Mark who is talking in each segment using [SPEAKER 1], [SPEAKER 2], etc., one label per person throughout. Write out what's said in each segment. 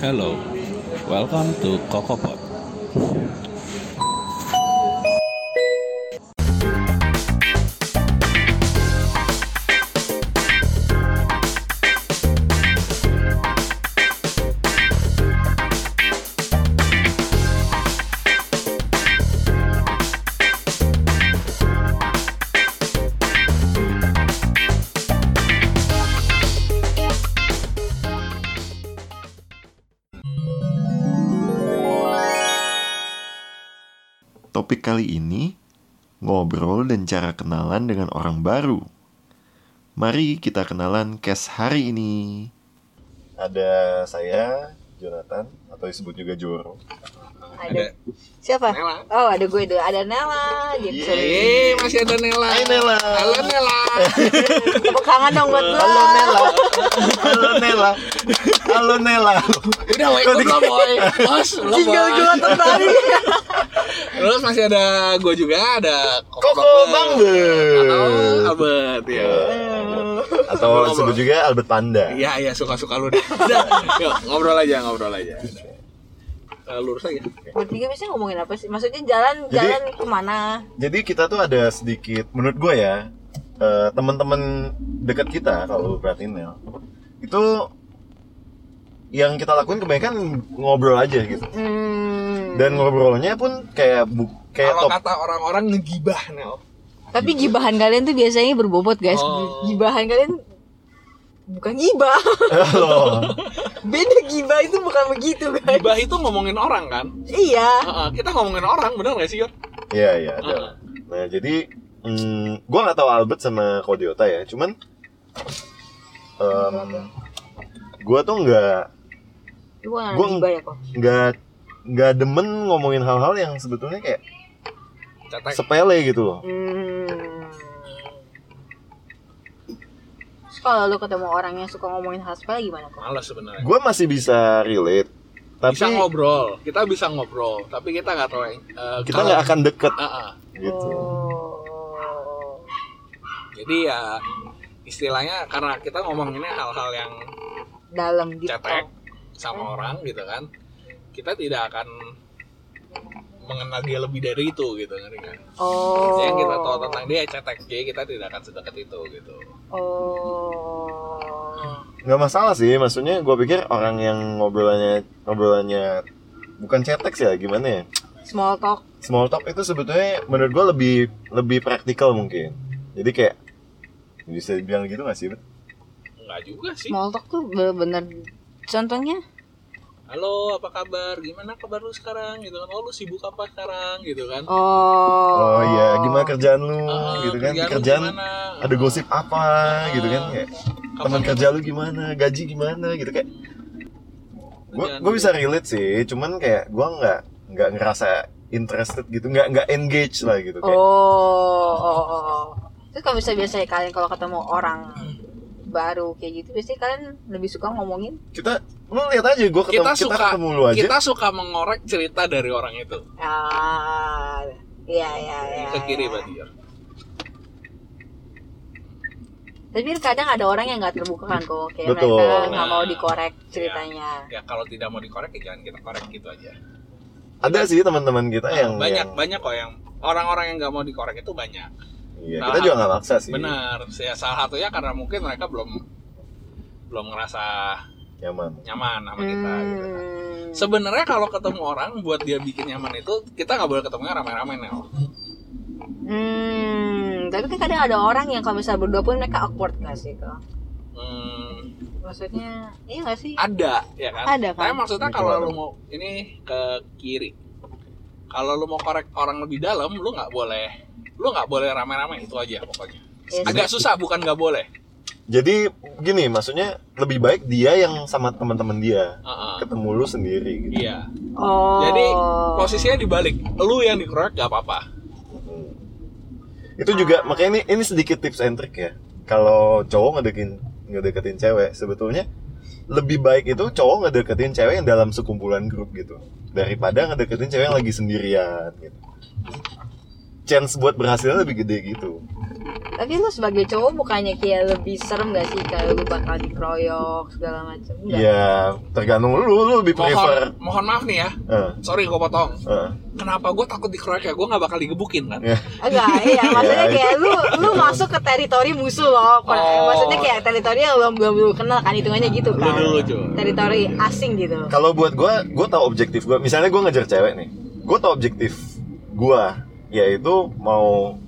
[SPEAKER 1] Hello, welcome to Kokopot.
[SPEAKER 2] Topik kali ini ngobrol dan cara kenalan dengan orang baru. Mari kita kenalan case hari ini. Ada saya Jonathan atau disebut juga Joro.
[SPEAKER 1] Ada.
[SPEAKER 3] ada
[SPEAKER 4] Siapa?
[SPEAKER 3] Nela.
[SPEAKER 4] Oh, ada gue dulu. Ada Nela. gitu.
[SPEAKER 2] Iya.
[SPEAKER 4] Dia bisa
[SPEAKER 3] Yeay, masih ada Nela.
[SPEAKER 2] Hai Nela.
[SPEAKER 3] Halo Nela.
[SPEAKER 4] tepuk tangan dong buat gue.
[SPEAKER 2] Halo Nela. Halo Nela. Halo Nela.
[SPEAKER 3] Udah woi, udah boy. Bos, lo
[SPEAKER 4] Jingle
[SPEAKER 3] boy.
[SPEAKER 4] gue tertarik.
[SPEAKER 3] Terus masih ada gue juga, ada
[SPEAKER 2] Koko Bangbet.
[SPEAKER 3] Oh, Abed ya.
[SPEAKER 2] Atau disebut juga Albert Panda.
[SPEAKER 3] Iya, iya suka-suka lu deh. Udah, yuk, ngobrol aja, ngobrol aja. Eh, Lurus aja.
[SPEAKER 4] Bertiga biasanya ngomongin apa sih? Maksudnya jalan
[SPEAKER 2] Jadi-
[SPEAKER 4] jalan kemana?
[SPEAKER 2] Jadi kita tuh ada sedikit menurut gue ya eh, teman-teman dekat kita kalau lu perhatiin Nel itu yang kita lakuin kebanyakan ngobrol aja gitu
[SPEAKER 4] Hmm.
[SPEAKER 2] dan ngobrolnya pun kayak bu- kayak
[SPEAKER 3] Kalau
[SPEAKER 2] top
[SPEAKER 3] kata orang-orang ngegibah, Nel.
[SPEAKER 4] Tapi gibahan kalian tuh biasanya berbobot guys.
[SPEAKER 3] Oh.
[SPEAKER 4] Gibahan kalian bukan gibah. Beda gibah itu bukan begitu guys.
[SPEAKER 3] Gibah itu ngomongin orang kan?
[SPEAKER 4] Iya.
[SPEAKER 3] Heeh, kita ngomongin orang, bener gak sih, Yor?
[SPEAKER 2] Iya iya ada.
[SPEAKER 3] Heeh.
[SPEAKER 2] Nah jadi mm, gua nggak tahu Albert sama Kodiota ya, cuman em, gua tuh nggak
[SPEAKER 4] Lu bukan
[SPEAKER 2] Gua-
[SPEAKER 4] anak gibah ya kok.
[SPEAKER 2] nggak nggak demen ngomongin hal-hal yang sebetulnya kayak
[SPEAKER 3] Cetek.
[SPEAKER 2] sepele gitu loh.
[SPEAKER 4] Hmm. Terus kalau lu ketemu orang yang suka ngomongin hal sepele gimana kok?
[SPEAKER 3] Males sebenarnya.
[SPEAKER 2] Gua masih bisa relate, tapi
[SPEAKER 3] Bisa ngobrol, kita bisa ngobrol, tapi kita nggak tahu. eh,
[SPEAKER 2] kita
[SPEAKER 3] kalau-
[SPEAKER 2] nggak akan deket
[SPEAKER 3] Heeh.
[SPEAKER 2] gitu.
[SPEAKER 4] Oh.
[SPEAKER 3] Jadi ya istilahnya karena kita ngomonginnya hal-hal yang
[SPEAKER 4] Dalam gitu.
[SPEAKER 3] cetek sama orang gitu kan, kita tidak akan mengenal dia lebih dari itu gitu ngerti kan?
[SPEAKER 4] Oh.
[SPEAKER 3] Yang kita tahu tentang dia cetek, jadi kita tidak akan sedekat itu gitu.
[SPEAKER 4] Oh.
[SPEAKER 2] Nggak masalah sih, maksudnya gua pikir orang yang ngobrolannya ngobrolannya bukan cetek sih ya, gimana ya?
[SPEAKER 4] Small talk.
[SPEAKER 2] small talk itu sebetulnya menurut gue lebih lebih praktikal mungkin jadi kayak bisa dibilang gitu gak sih Bet?
[SPEAKER 3] Enggak juga sih.
[SPEAKER 4] Small talk tuh bener-bener contohnya
[SPEAKER 3] Halo, apa kabar? Gimana kabar lu sekarang? Gitu kan? Oh, lu sibuk apa sekarang? Gitu kan?
[SPEAKER 4] oh
[SPEAKER 2] oh iya gimana kerjaan lu
[SPEAKER 3] Eh,
[SPEAKER 2] gitu kan
[SPEAKER 3] kerjaan lu
[SPEAKER 2] kerjaan
[SPEAKER 3] gimana?
[SPEAKER 2] ada gosip apa gitu kan kayak
[SPEAKER 3] Kapan gitu?
[SPEAKER 2] teman kerja lu gimana gaji gimana gitu kayak gue
[SPEAKER 3] Kerjaan
[SPEAKER 2] gue
[SPEAKER 3] lu.
[SPEAKER 2] bisa relate sih cuman kayak gue nggak nggak ngerasa interested gitu nggak nggak engage lah gitu kayak
[SPEAKER 4] oh oh oh terus kalau bisa biasanya kalian kalau ketemu orang baru kayak gitu biasanya kalian lebih suka ngomongin
[SPEAKER 2] kita lu lihat aja gue ketemu
[SPEAKER 3] kita
[SPEAKER 2] kita,
[SPEAKER 3] suka
[SPEAKER 2] ketemu lu aja
[SPEAKER 3] kita suka mengorek cerita dari orang itu
[SPEAKER 4] "Ya, ah iya iya iya
[SPEAKER 3] ke kiri
[SPEAKER 4] iya.
[SPEAKER 3] berarti ya.
[SPEAKER 4] tapi kadang ada orang yang nggak terbuka kan kok kayak
[SPEAKER 2] Betul.
[SPEAKER 4] mereka nggak mau
[SPEAKER 3] Nah.
[SPEAKER 4] dikorek ceritanya
[SPEAKER 3] ya kalau tidak mau dikorek ya jangan kita korek gitu aja
[SPEAKER 2] ada sih teman-teman kita yang
[SPEAKER 3] Ah, banyak
[SPEAKER 2] yang-
[SPEAKER 3] banyak kok yang orang-orang yang nggak mau dikorek itu banyak
[SPEAKER 2] iya kita juga nggak maksa sih
[SPEAKER 3] benar ya salah satunya karena mungkin mereka belum belum ngerasa
[SPEAKER 2] nyaman
[SPEAKER 3] nyaman sama kita gitu kan.
[SPEAKER 4] Hmm.
[SPEAKER 3] Sebenarnya kalau ketemu orang buat dia bikin nyaman itu kita nggak boleh ketemunya ramai-ramai Nel.
[SPEAKER 4] Hmm, tapi kan kadang ada orang yang kalau misalnya berdua pun mereka awkward gak sih kok?
[SPEAKER 3] Hmm,
[SPEAKER 4] Maksudnya, iya gak sih?
[SPEAKER 3] ada ya kan?
[SPEAKER 4] Ada kan?
[SPEAKER 3] Tapi maksudnya
[SPEAKER 2] Ini
[SPEAKER 3] kalau
[SPEAKER 2] kemana?
[SPEAKER 3] lu mau ini ke kiri. Kalau lu mau korek orang lebih dalam, lu nggak boleh, lu nggak boleh rame-rame itu aja pokoknya.
[SPEAKER 4] Iya sih.
[SPEAKER 3] Agak susah bukan nggak boleh.
[SPEAKER 2] Jadi gini, maksudnya lebih baik dia yang sama teman-teman dia
[SPEAKER 3] Heeh.
[SPEAKER 2] ketemu lu sendiri gitu.
[SPEAKER 3] Iya.
[SPEAKER 4] Oh.
[SPEAKER 3] Jadi posisinya dibalik, lu yang dikorek gak apa-apa.
[SPEAKER 2] Hmm. Itu juga makanya ini ini sedikit tips and trick ya. Kalau cowok ngedekin ngedeketin cewek, sebetulnya lebih baik itu cowok ngedeketin cewek yang dalam sekumpulan grup gitu daripada ngedeketin cewek yang lagi sendirian gitu. chance buat berhasilnya lebih gede gitu.
[SPEAKER 4] Tapi lu sebagai cowok mukanya kayak lebih serem gak sih kayak lu bakal dikeroyok segala macam. Enggak.
[SPEAKER 2] Ya tergantung lu, lu lebih
[SPEAKER 3] mohon
[SPEAKER 2] prefer.
[SPEAKER 3] mohon maaf nih ya
[SPEAKER 2] Eh,
[SPEAKER 3] sorry gue potong
[SPEAKER 2] eh. ya.
[SPEAKER 3] kenapa gue takut dikeroyok ya gue nggak bakal digebukin kan
[SPEAKER 4] Enggak, iya maksudnya
[SPEAKER 2] Iya.
[SPEAKER 4] kayak lu lu masuk ke teritori musuh loh. Per-
[SPEAKER 3] Oh.
[SPEAKER 4] Maksudnya kayak teritori yang belum belum belum kenal kan hitungannya gitu
[SPEAKER 3] lu
[SPEAKER 4] kan.
[SPEAKER 3] dulu cuy
[SPEAKER 2] Iya.
[SPEAKER 4] Teritori asing gitu.
[SPEAKER 2] Kalau buat gua, gua tahu objektif gua. Misalnya gua ngejar cewek nih, gua tahu objektif gua yaitu mau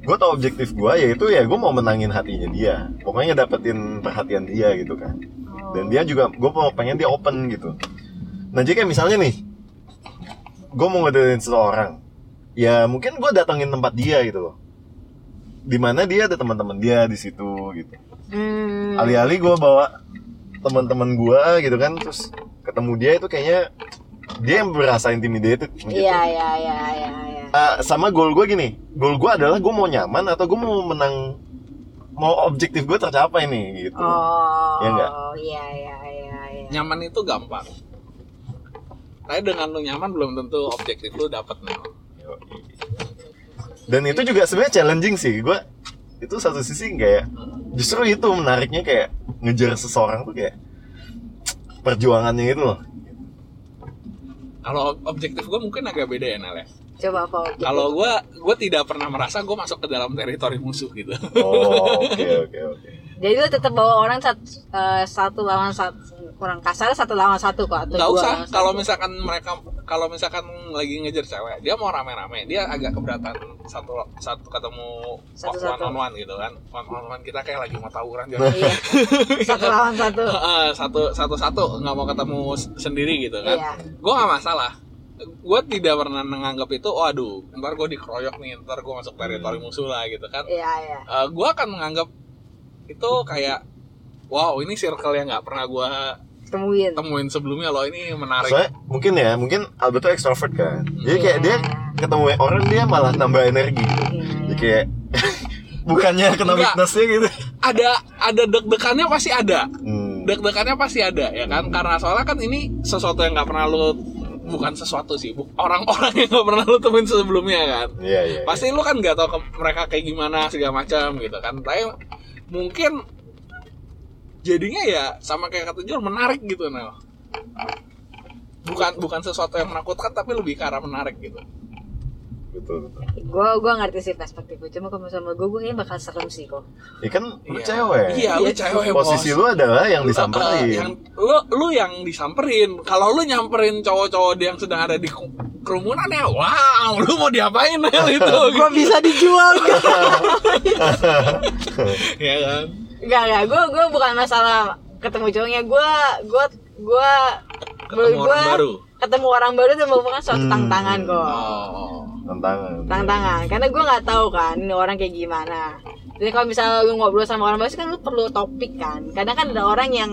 [SPEAKER 2] gue tau objektif gua yaitu ya gue mau menangin hatinya dia pokoknya dapetin perhatian dia gitu kan dan dia juga gue mau pengen dia open gitu nah jadi kayak misalnya nih gue mau ngedeketin seseorang ya mungkin gue datengin tempat dia gitu loh dimana dia ada teman-teman dia di situ gitu
[SPEAKER 4] Hmm.
[SPEAKER 2] alih-alih gue bawa teman-teman gue gitu kan terus ketemu dia itu kayaknya dia yang berasa intimidated gitu.
[SPEAKER 4] Iya, iya, iya, iya, iya.
[SPEAKER 2] Eh, sama goal gue gini goal gue adalah gue mau nyaman atau gue mau menang mau objektif gue tercapai nih gitu
[SPEAKER 4] Oh.
[SPEAKER 2] Iya nggak?
[SPEAKER 4] Iya, iya, iya, iya.
[SPEAKER 3] nyaman itu gampang tapi dengan lu nyaman belum tentu objektif lu dapet nih
[SPEAKER 2] dan itu juga sebenarnya challenging sih gue itu satu sisi kayak justru itu menariknya kayak ngejar seseorang tuh kayak perjuangannya itu loh
[SPEAKER 3] kalau objektif gue mungkin agak beda ya Nel ya.
[SPEAKER 4] Coba apa? objektif?
[SPEAKER 3] Kalau gue, gue tidak pernah merasa gue masuk ke dalam teritori musuh gitu.
[SPEAKER 2] oh oke oke oke
[SPEAKER 4] Jadi lu tetap bawa orang satu, eh, satu lawan satu kurang kasar satu lawan satu kok
[SPEAKER 3] Gak
[SPEAKER 4] atau dua
[SPEAKER 3] usah.
[SPEAKER 4] lawan satu?
[SPEAKER 3] Kalau misalkan mereka, kalau misalkan lagi ngejar cewek, dia mau rame-rame, dia agak keberatan satu satu ketemu one
[SPEAKER 4] Satu-satu.
[SPEAKER 3] on one gitu kan. One on one kita kayak lagi mau tawuran gitu.
[SPEAKER 4] Iya. satu lawan satu.
[SPEAKER 3] Heeh, satu satu satu nggak mau ketemu s- sendiri gitu kan.
[SPEAKER 4] Iya.
[SPEAKER 3] Gue nggak masalah. Gue tidak pernah menganggap itu, waduh, ntar gue dikeroyok nih, ntar gue masuk teritori
[SPEAKER 4] Hmm.
[SPEAKER 3] musuh lah gitu kan.
[SPEAKER 4] Iya, iya.
[SPEAKER 3] Eh, gua akan menganggap itu kayak wow ini circle yang nggak pernah gua
[SPEAKER 4] Temuin.
[SPEAKER 3] temuin sebelumnya loh ini menarik
[SPEAKER 2] soalnya mungkin ya mungkin Alberto extrovert kan jadi kayak dia ketemu orang dia malah nambah energi gitu
[SPEAKER 4] Iya.
[SPEAKER 2] jadi kayak bukannya kena
[SPEAKER 3] Enggak.
[SPEAKER 2] weaknessnya gitu
[SPEAKER 3] ada ada deg-degannya pasti ada
[SPEAKER 2] hmm.
[SPEAKER 3] deg-degannya pasti ada ya kan karena soalnya kan ini sesuatu yang nggak pernah lo bukan sesuatu sih bu- orang-orang yang nggak pernah lo temuin sebelumnya kan
[SPEAKER 2] iya iya
[SPEAKER 3] pasti lu kan nggak tahu ke- mereka kayak gimana segala macam gitu kan tapi mungkin jadinya ya sama kayak kata Jul menarik gitu Nel bukan bukan sesuatu yang menakutkan tapi lebih ke arah menarik gitu
[SPEAKER 2] betul betul
[SPEAKER 4] Gue gua ngerti sih perspektif lu. Cuma kalau sama gue, gue kayaknya bakal serem sih kok.
[SPEAKER 2] ya kan lu
[SPEAKER 3] Iya.
[SPEAKER 2] cewek
[SPEAKER 3] iya lu cewek
[SPEAKER 2] posisi
[SPEAKER 3] bos.
[SPEAKER 2] lu adalah yang disamperin
[SPEAKER 3] Eh, yang lu lu yang disamperin kalau lu nyamperin cowok-cowok yang sedang ada di ku- kerumunan ya wow lu mau diapain Nel itu
[SPEAKER 4] Gue bisa dijual
[SPEAKER 3] Eh, ya kan
[SPEAKER 4] Enggak, enggak. Gue gue bukan masalah ketemu cowoknya. Gue gue gue
[SPEAKER 3] ketemu orang baru
[SPEAKER 4] ketemu orang baru itu merupakan suatu
[SPEAKER 2] Hmm.
[SPEAKER 4] tantangan kok.
[SPEAKER 3] oh
[SPEAKER 2] tantangan
[SPEAKER 4] Tantangan.
[SPEAKER 2] Hmm.
[SPEAKER 4] Karena gue nggak tahu kan ini orang kayak gimana. Jadi kalau misalnya lu ngobrol sama orang baru kan lu perlu topik kan. Kadang kan ada orang yang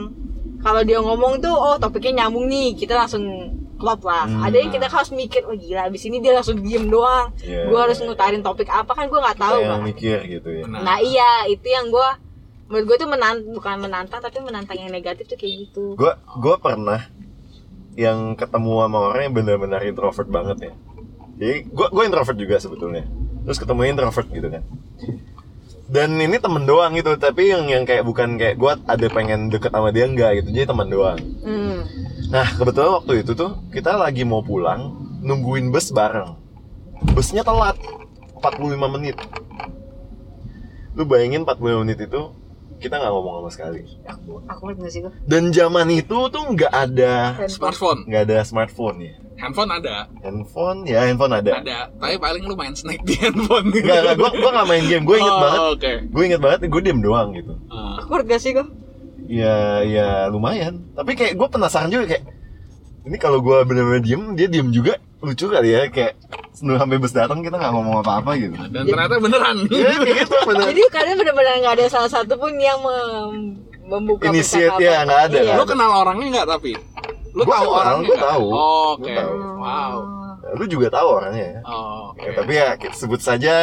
[SPEAKER 4] kalau dia ngomong tuh oh topiknya nyambung nih kita langsung klop lah.
[SPEAKER 2] Hmm.
[SPEAKER 4] Ada yang kita harus mikir, oh gila abis ini dia langsung diem doang.
[SPEAKER 2] Iya.
[SPEAKER 4] Gue harus ngutarin topik apa kan gue nggak tahu
[SPEAKER 2] Kayak
[SPEAKER 4] kan.
[SPEAKER 2] yang mikir gitu ya
[SPEAKER 3] benar
[SPEAKER 4] Nah iya itu yang gue menurut gue tuh menan bukan menantang tapi menantang yang negatif tuh kayak gitu.
[SPEAKER 2] gue gue pernah yang ketemu sama orang yang benar-benar introvert banget ya jadi gue gue introvert juga sebetulnya terus ketemu introvert gitu kan dan ini temen doang gitu tapi yang yang kayak bukan kayak gue ada pengen deket sama dia enggak gitu jadi temen doang
[SPEAKER 4] Hmm.
[SPEAKER 2] nah kebetulan waktu itu tuh kita lagi mau pulang nungguin bus bareng busnya telat 45 menit lu bayangin 45 menit itu kita nggak ngomong sama sekali
[SPEAKER 4] Aku aku ngerti nggak sih gue.
[SPEAKER 2] dan zaman itu tuh nggak ada
[SPEAKER 3] smartphone
[SPEAKER 2] nggak ada smartphone ya
[SPEAKER 3] handphone ada
[SPEAKER 2] handphone ya handphone ada
[SPEAKER 3] ada tapi paling lu main snake di handphone gitu
[SPEAKER 2] nggak nggak gue gue nggak main game gue inget
[SPEAKER 3] Oh,
[SPEAKER 2] banget
[SPEAKER 3] oke
[SPEAKER 2] gue inget banget gue diem doang gitu
[SPEAKER 3] Ah,
[SPEAKER 4] Aku ngerti nggak sih gue.
[SPEAKER 2] ya ya lumayan tapi kayak gue penasaran juga kayak ini kalau gue bener-bener diem dia diem juga lucu kali ya kayak sebelum sampai bus datang kita nggak ngomong apa-apa gitu
[SPEAKER 3] dan ternyata beneran
[SPEAKER 2] ya kayak gitu bener
[SPEAKER 4] Jadi kalian benar-benar nggak ada salah satu pun yang mem- membuka
[SPEAKER 2] Initiate,
[SPEAKER 4] percakapan.
[SPEAKER 2] ya, nggak ada,
[SPEAKER 4] Iya.
[SPEAKER 3] lu kenal orangnya nggak tapi lu
[SPEAKER 2] Gua
[SPEAKER 3] tahu
[SPEAKER 2] kenal,
[SPEAKER 3] orangnya
[SPEAKER 2] gua
[SPEAKER 3] nggak?
[SPEAKER 2] tahu.
[SPEAKER 3] Oh, oke
[SPEAKER 2] Gua tahu.
[SPEAKER 3] wow
[SPEAKER 2] lu juga tahu orangnya ya
[SPEAKER 3] Oh, oke
[SPEAKER 2] Ya, tapi ya kita sebut saja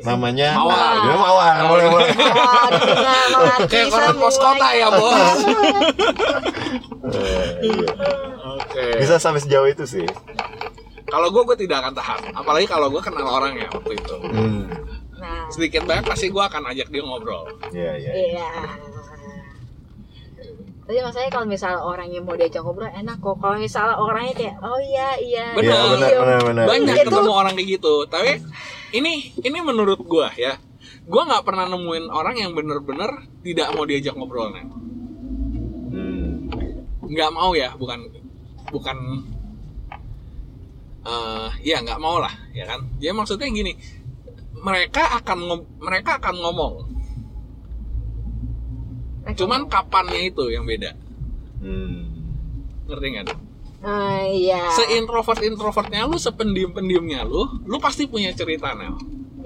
[SPEAKER 2] namanya
[SPEAKER 3] Mawar.
[SPEAKER 2] Ah, dia mawar boleh boleh
[SPEAKER 4] Wah, mengerti
[SPEAKER 3] kayak koran
[SPEAKER 4] semua.
[SPEAKER 3] pos kota ya
[SPEAKER 4] Nah,
[SPEAKER 3] bos
[SPEAKER 2] Eh, iya.
[SPEAKER 3] oke
[SPEAKER 2] bisa sampai sejauh itu sih
[SPEAKER 3] Kalau gue, gue tidak akan tahan. Apalagi kalau gue kenal orangnya waktu itu.
[SPEAKER 2] Hmm.
[SPEAKER 4] Nah,
[SPEAKER 3] Sedikit banyak pasti gue akan ajak dia ngobrol.
[SPEAKER 2] Iya, iya.
[SPEAKER 4] iya. Tapi maksudnya kalau misalnya orang yang mau diajak ngobrol enak kok. Kalau misalnya orangnya kayak, oh iya iya.
[SPEAKER 3] Benar.
[SPEAKER 2] Iya, benar,
[SPEAKER 4] iya.
[SPEAKER 2] benar, benar.
[SPEAKER 3] Banyak
[SPEAKER 4] Itu-
[SPEAKER 3] ketemu orang kayak gitu. Tapi ini ini menurut gue ya, gue nggak pernah nemuin orang yang bener-bener tidak mau diajak ngobrolnya.
[SPEAKER 2] Hmm.
[SPEAKER 3] nggak mau ya bukan bukan eh ya nggak mau lah ya kan ya maksudnya gini mereka akan ngo- mereka akan ngomong
[SPEAKER 4] Nah,
[SPEAKER 3] cuman kapannya itu yang beda
[SPEAKER 2] Hmm.
[SPEAKER 3] ngerti nggak tuh?
[SPEAKER 4] Ah, iya.
[SPEAKER 3] seintrovert introvertnya lu sependiam pendiamnya lu lu pasti punya cerita Nel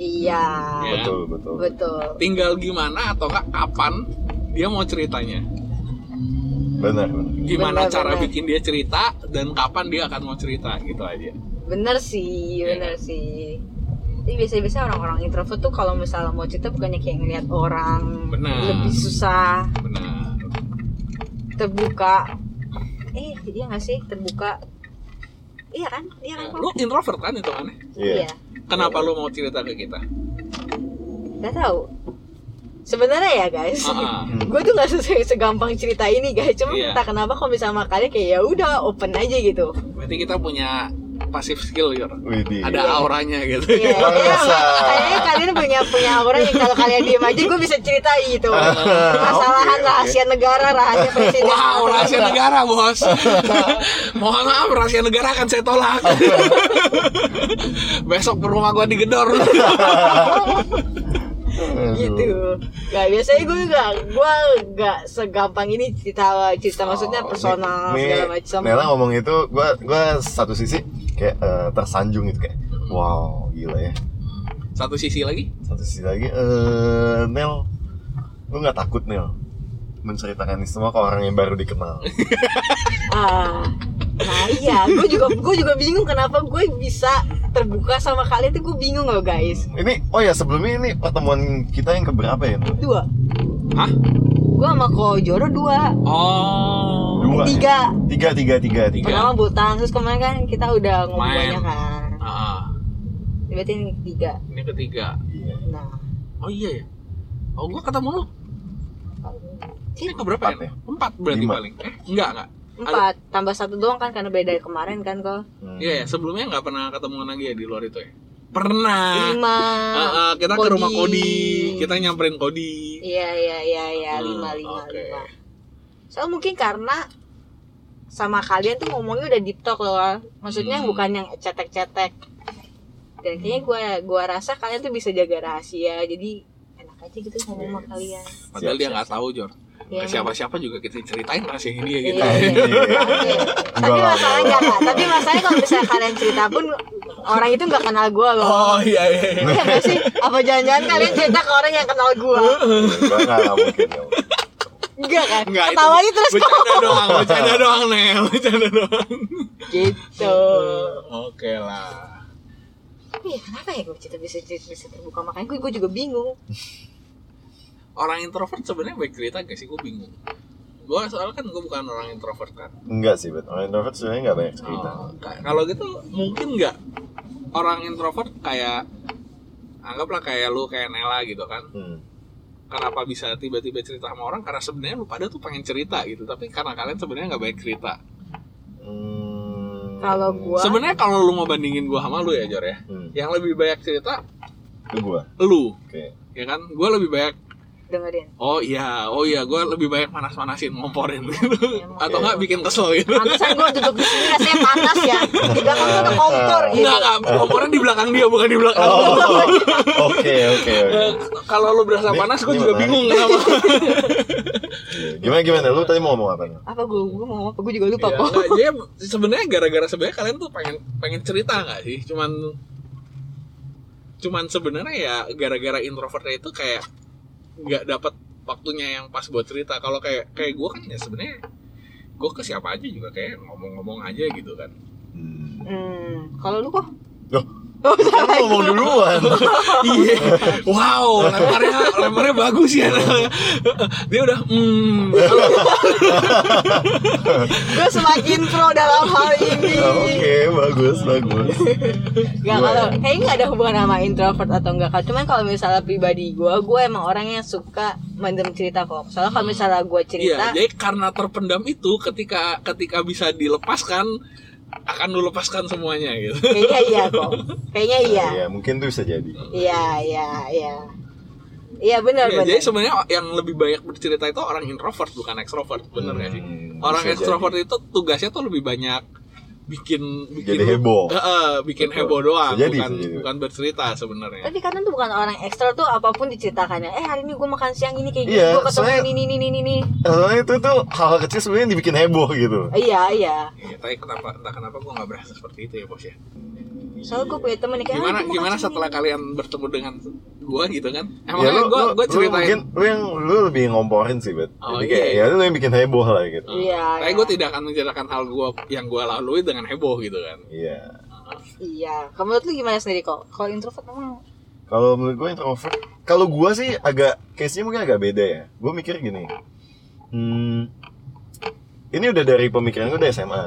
[SPEAKER 4] Iya.
[SPEAKER 3] Ya.
[SPEAKER 2] Betul, betul.
[SPEAKER 4] Betul.
[SPEAKER 3] tinggal gimana atau nggak kapan dia mau ceritanya
[SPEAKER 2] Benar, benar.
[SPEAKER 3] gimana
[SPEAKER 4] Benar,
[SPEAKER 3] cara
[SPEAKER 4] benar.
[SPEAKER 3] bikin dia cerita dan kapan dia akan mau cerita gitu aja
[SPEAKER 4] Bener sih,
[SPEAKER 3] Iya.
[SPEAKER 4] bener sih. Jadi biasanya-biasanya orang-orang introvert tuh kalau misalnya mau cerita bukannya kayak ngeliat orang
[SPEAKER 3] Benar.
[SPEAKER 4] lebih susah
[SPEAKER 3] benar
[SPEAKER 4] terbuka. Eh, iya nggak sih terbuka? Iya kan? Iya kan?
[SPEAKER 3] Ya,
[SPEAKER 4] Pak?
[SPEAKER 3] lu introvert kan itu aneh
[SPEAKER 2] Iya.
[SPEAKER 4] Iya.
[SPEAKER 3] Kenapa lu mau cerita ke kita?
[SPEAKER 4] Gak tahu. Sebenarnya ya guys,
[SPEAKER 3] Ah,
[SPEAKER 2] Hmm.
[SPEAKER 4] gue tuh gak se- segampang cerita ini guys. Cuma
[SPEAKER 3] Iya.
[SPEAKER 4] entah kenapa kalau misalnya makanya kayak ya udah open aja gitu.
[SPEAKER 3] berarti kita punya pasif skill gitu.
[SPEAKER 2] Widih.
[SPEAKER 3] Ada auranya gitu.
[SPEAKER 4] Iya,
[SPEAKER 2] Luar
[SPEAKER 4] iya,
[SPEAKER 2] biasa.
[SPEAKER 4] kayaknya kalian punya punya aura yang kalau kalian diem aja gue bisa cerita gitu.
[SPEAKER 2] Ah.
[SPEAKER 4] Masalahan
[SPEAKER 2] oke.
[SPEAKER 4] rahasia negara, rahasia presiden.
[SPEAKER 3] Wow, rahasia negara bos. Mohon maaf, rahasia negara akan saya tolak. Besok ke rumah gua digedor.
[SPEAKER 2] Aduh.
[SPEAKER 4] gitu. Gak biasanya gue gak gue gak segampang ini cerita cerita maksudnya personal
[SPEAKER 2] Nih,
[SPEAKER 4] segala macam.
[SPEAKER 2] Oh, Nela ngomong itu, gua gua satu sisi kayak eh, tersanjung gitu kayak, wow gila ya.
[SPEAKER 3] Satu sisi lagi,
[SPEAKER 2] Satu sisi lagi, eh Nel, lu nggak takut Nel menceritakan ini semua ke orang yang baru dikenal?
[SPEAKER 4] Ah, nah iya, gue juga gue juga bingung kenapa gue bisa terbuka sama kalian tuh gue bingung loh guys.
[SPEAKER 2] ini, oh ya sebelumnya ini pertemuan kita yang keberapa ya? Nel?
[SPEAKER 4] Dua,
[SPEAKER 3] hah?
[SPEAKER 4] gue sama Kojoro dua,
[SPEAKER 3] Oh,
[SPEAKER 2] Dua. ya?
[SPEAKER 4] tiga.
[SPEAKER 2] Tiga, tiga, tiga, tiga.
[SPEAKER 3] Tiga.
[SPEAKER 4] Pertama butang, terus kemarin kan kita udah ngomong
[SPEAKER 3] Main.
[SPEAKER 4] banyak kan.
[SPEAKER 3] Ah,
[SPEAKER 4] Berarti ini tiga.
[SPEAKER 3] ini ketiga.
[SPEAKER 2] Iya.
[SPEAKER 4] Nah,
[SPEAKER 3] Oh iya ya. Oh gua ketemu lu. Ini keberapa
[SPEAKER 2] Empat
[SPEAKER 3] ya?
[SPEAKER 2] ya?
[SPEAKER 3] Empat berarti
[SPEAKER 2] Lima.
[SPEAKER 3] paling. Eh, enggak enggak.
[SPEAKER 4] empat tambah satu doang kan karena beda dari kemarin kan kok.
[SPEAKER 2] Hmm.
[SPEAKER 3] Iya ya, sebelumnya nggak pernah ketemu lagi ya di luar itu ya. Pernah.
[SPEAKER 4] Lima.
[SPEAKER 3] Ah, ah, kita ke
[SPEAKER 4] Kodi.
[SPEAKER 3] rumah Kodi, kita nyamperin Kodi.
[SPEAKER 4] Iya iya iya iya
[SPEAKER 3] Hmm,
[SPEAKER 4] lima lima
[SPEAKER 3] oke.
[SPEAKER 4] lima. So mungkin karena sama kalian tuh ngomongnya udah deep talk loh, maksudnya
[SPEAKER 3] Hmm.
[SPEAKER 4] bukan yang cetek-cetek. Dan kayaknya gua gua rasa kalian tuh bisa jaga rahasia, jadi enak aja gitu ngomong sama kalian.
[SPEAKER 3] Padahal
[SPEAKER 2] Siap,
[SPEAKER 3] dia
[SPEAKER 2] siap,
[SPEAKER 3] nggak tahu Jor.
[SPEAKER 4] Iya.
[SPEAKER 3] Ke siapa-siapa juga kita ceritain rahasianya dia gitu.
[SPEAKER 4] Iya, iya. Iya. Tapi
[SPEAKER 2] Gua lama.
[SPEAKER 4] masalahnya enggak, Kak. Tapi masalahnya kalau misalnya kalian cerita pun orang itu nggak kenal gua loh.
[SPEAKER 3] Oh iya iya. iya.
[SPEAKER 4] Iya nggak sih? Apa jangan-jangan kalian cerita ke orang yang kenal gua?
[SPEAKER 2] Gua nggak nggak mungkin. nggak mungkin.
[SPEAKER 4] Enggak kan?
[SPEAKER 3] Nggak, itu
[SPEAKER 4] Ketawanya terus kok.
[SPEAKER 3] Bercanda doang, bercanda doang Nel, bercanda doang.
[SPEAKER 4] Gitu.
[SPEAKER 3] Oke lah.
[SPEAKER 4] Iya, kenapa ya gue cerita bisa cerita bisa terbuka? Makanya gue, gue juga bingung.
[SPEAKER 3] Orang introvert sebenarnya baik cerita gak sih? Gue bingung. Gue soalnya kan gue bukan orang introvert kan.
[SPEAKER 2] Enggak sih, bet. Orang introvert sebenarnya nggak banyak cerita.
[SPEAKER 3] Oh, ka- kalau gitu mungkin nggak orang introvert kayak anggaplah kayak lu kayak Nela gitu kan
[SPEAKER 2] Hmm.
[SPEAKER 3] kenapa bisa tiba-tiba cerita sama orang karena sebenarnya lu pada tuh pengen cerita gitu tapi karena kalian sebenarnya nggak banyak cerita
[SPEAKER 2] Hmm.
[SPEAKER 4] Kalau gua-
[SPEAKER 3] sebenarnya kalau lu mau bandingin gua sama lu ya Jor ya
[SPEAKER 2] Hmm.
[SPEAKER 3] yang lebih banyak cerita
[SPEAKER 2] Itu gua.
[SPEAKER 3] lu
[SPEAKER 2] Oke.
[SPEAKER 3] ya kan gua lebih banyak
[SPEAKER 4] Dengerin.
[SPEAKER 3] oh iya oh iya gua lebih banyak manas-manasin ngomporin gitu. atau nggak bikin kesel gitu
[SPEAKER 4] Pantesan gue duduk di sini rasanya panas ya. Di belakang tuh ada kompor gitu.
[SPEAKER 3] Enggak, enggak, ngomporin di belakang dia bukan di belakang lu.
[SPEAKER 2] Oh, Oke, oke, oke.
[SPEAKER 3] Eh, kalau lu berasa
[SPEAKER 2] Ini-
[SPEAKER 3] panas gua
[SPEAKER 2] ini
[SPEAKER 3] juga
[SPEAKER 2] menarik.
[SPEAKER 3] bingung kenapa
[SPEAKER 2] Gimana gimana? Lu tadi mau ngomong apa nih?
[SPEAKER 4] Apa gue gue mau ngomong apa gue juga lupa
[SPEAKER 3] Ya,
[SPEAKER 4] kok.
[SPEAKER 3] enggak, jadi sebenarnya gara-gara sebenarnya kalian tuh pengen pengen cerita nggak sih? Cuman cuman sebenarnya ya gara-gara introvertnya itu kayak nggak dapat waktunya yang pas buat cerita. Kalau kayak kayak gue kan ya sebenarnya gue ke siapa aja juga kayak ngomong-ngomong aja gitu kan.
[SPEAKER 2] Hmm.
[SPEAKER 4] Hmm, kalau lu kok?
[SPEAKER 2] Loh,
[SPEAKER 4] Oh, salah
[SPEAKER 2] Kan ngomong duluan.
[SPEAKER 3] Iya. Wow, lemarnya lemarnya bagus ya. Dia udah hmm.
[SPEAKER 4] Gue semakin pro dalam hal ini.
[SPEAKER 2] Ah, Oke,
[SPEAKER 3] Oh,
[SPEAKER 2] bagus, bagus.
[SPEAKER 4] Gak kalau kayaknya nggak ada hubungan sama introvert atau enggak kalau cuman kalau misalnya pribadi gue gue emang orangnya suka mendem cerita kok soalnya kalau misalnya gue cerita
[SPEAKER 3] Iya, jadi karena terpendam itu ketika ketika bisa dilepaskan akan lu lepaskan semuanya gitu.
[SPEAKER 4] kayaknya iya kok kayaknya iya
[SPEAKER 2] Ya, mungkin tuh bisa jadi.
[SPEAKER 4] iya iya iya iya benar
[SPEAKER 3] Iya,
[SPEAKER 4] benar
[SPEAKER 3] jadi sebenarnya yang lebih banyak bercerita itu orang introvert bukan ekstrovert, bener nggak sih?
[SPEAKER 2] Hmm,
[SPEAKER 3] Orang
[SPEAKER 2] bisa
[SPEAKER 3] ekstrovert itu tugasnya tuh lebih banyak bikin bikin
[SPEAKER 2] Jadi heboh.
[SPEAKER 3] Heeh, bikin
[SPEAKER 2] Betul.
[SPEAKER 3] heboh doang,
[SPEAKER 2] Bisa jadi,
[SPEAKER 3] bukan
[SPEAKER 2] bisa jadi.
[SPEAKER 3] bukan bercerita sebenarnya.
[SPEAKER 4] tapi kadang tuh bukan orang ekstra tuh apapun diceritakannya eh hari ini gue makan siang ini kayak gini
[SPEAKER 2] Iya,
[SPEAKER 4] gue ketemu
[SPEAKER 2] soalnya-
[SPEAKER 4] ini ini ini ini
[SPEAKER 2] Soalnya itu tuh hal-hal kecil sebenarnya yang dibikin heboh gitu.
[SPEAKER 4] iya iya
[SPEAKER 3] Iya, tapi kenapa entah kenapa gue nggak berasa seperti itu ya bos ya.
[SPEAKER 4] soalnya gue punya temen yang kayak
[SPEAKER 3] Gimana
[SPEAKER 4] "Ah, gua makan
[SPEAKER 3] gimana
[SPEAKER 4] siang
[SPEAKER 3] setelah
[SPEAKER 4] ini."
[SPEAKER 3] kalian bertemu dengan gue gitu kan? Emang
[SPEAKER 2] Ya,
[SPEAKER 3] makanya
[SPEAKER 2] lu,
[SPEAKER 3] gue
[SPEAKER 2] lu,
[SPEAKER 3] gue
[SPEAKER 2] lu
[SPEAKER 3] ceritain.
[SPEAKER 2] mungkin lu yang lu lebih ngomporin sih, Bet.
[SPEAKER 3] Oh,
[SPEAKER 2] Jadi kayak
[SPEAKER 3] iya.
[SPEAKER 2] ya lu yang bikin heboh lah gitu.
[SPEAKER 4] iya
[SPEAKER 3] Tapi
[SPEAKER 4] iya.
[SPEAKER 3] gue tidak akan menceritakan hal gue yang gue lalui dengan heboh gitu kan.
[SPEAKER 2] Iya.
[SPEAKER 4] iya kamu menurut lu gimana sendiri kok kalau introvert emang
[SPEAKER 2] Kalau menurut gue introvert, kalau gue sih agak case-nya mungkin agak beda ya. Gue mikir gini. Hmm, ini udah dari pemikiran gue udah SMA.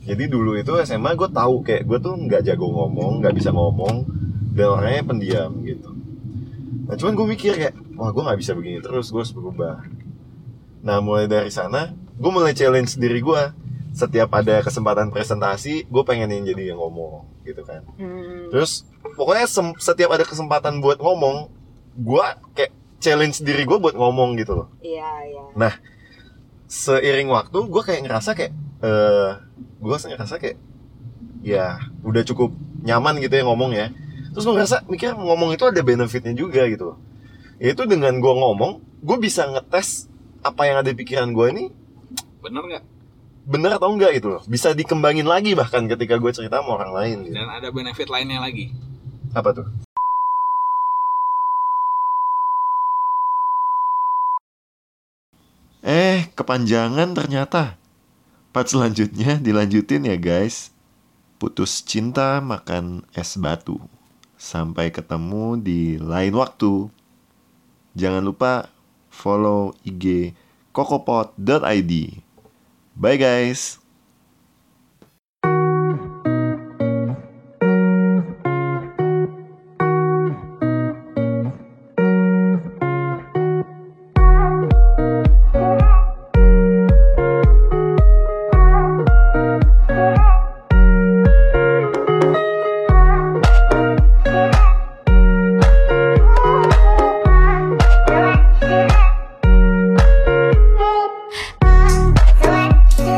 [SPEAKER 2] Jadi dulu itu SMA gue tahu kayak gue tuh nggak jago ngomong, nggak bisa ngomong, dan orangnya pendiam gitu. Nah cuman gue mikir kayak, wah gue nggak bisa begini terus, gue harus berubah. Nah mulai dari sana, gue mulai challenge diri gue. Setiap ada kesempatan presentasi, gue pengen yang jadi yang ngomong gitu kan.
[SPEAKER 4] hmm,
[SPEAKER 2] Terus pokoknya sem- setiap ada kesempatan buat ngomong, gua kayak challenge diri gua buat ngomong gitu loh.
[SPEAKER 4] iya iya
[SPEAKER 2] Seiring waktu gua kayak ngerasa kayak eh gua ngerasa kayak ya udah cukup nyaman gitu ya ngomong ya. Terus gua ngerasa mikir ngomong itu ada benefitnya juga gitu loh. Yaitu dengan gua ngomong, gua bisa ngetes apa yang ada di pikiran gua ini
[SPEAKER 3] Bener nggak?
[SPEAKER 2] bener atau enggak gitu loh. Bisa dikembangin lagi bahkan ketika gua cerita sama orang lain gitu.
[SPEAKER 3] Dan ada benefit lainnya lagi.
[SPEAKER 2] Apa tuh? Eh, kepanjangan ternyata. Part selanjutnya dilanjutin ya guys. Putus cinta makan es batu. Sampai ketemu di lain waktu. Jangan lupa follow IG kokopot.id. Bye guys.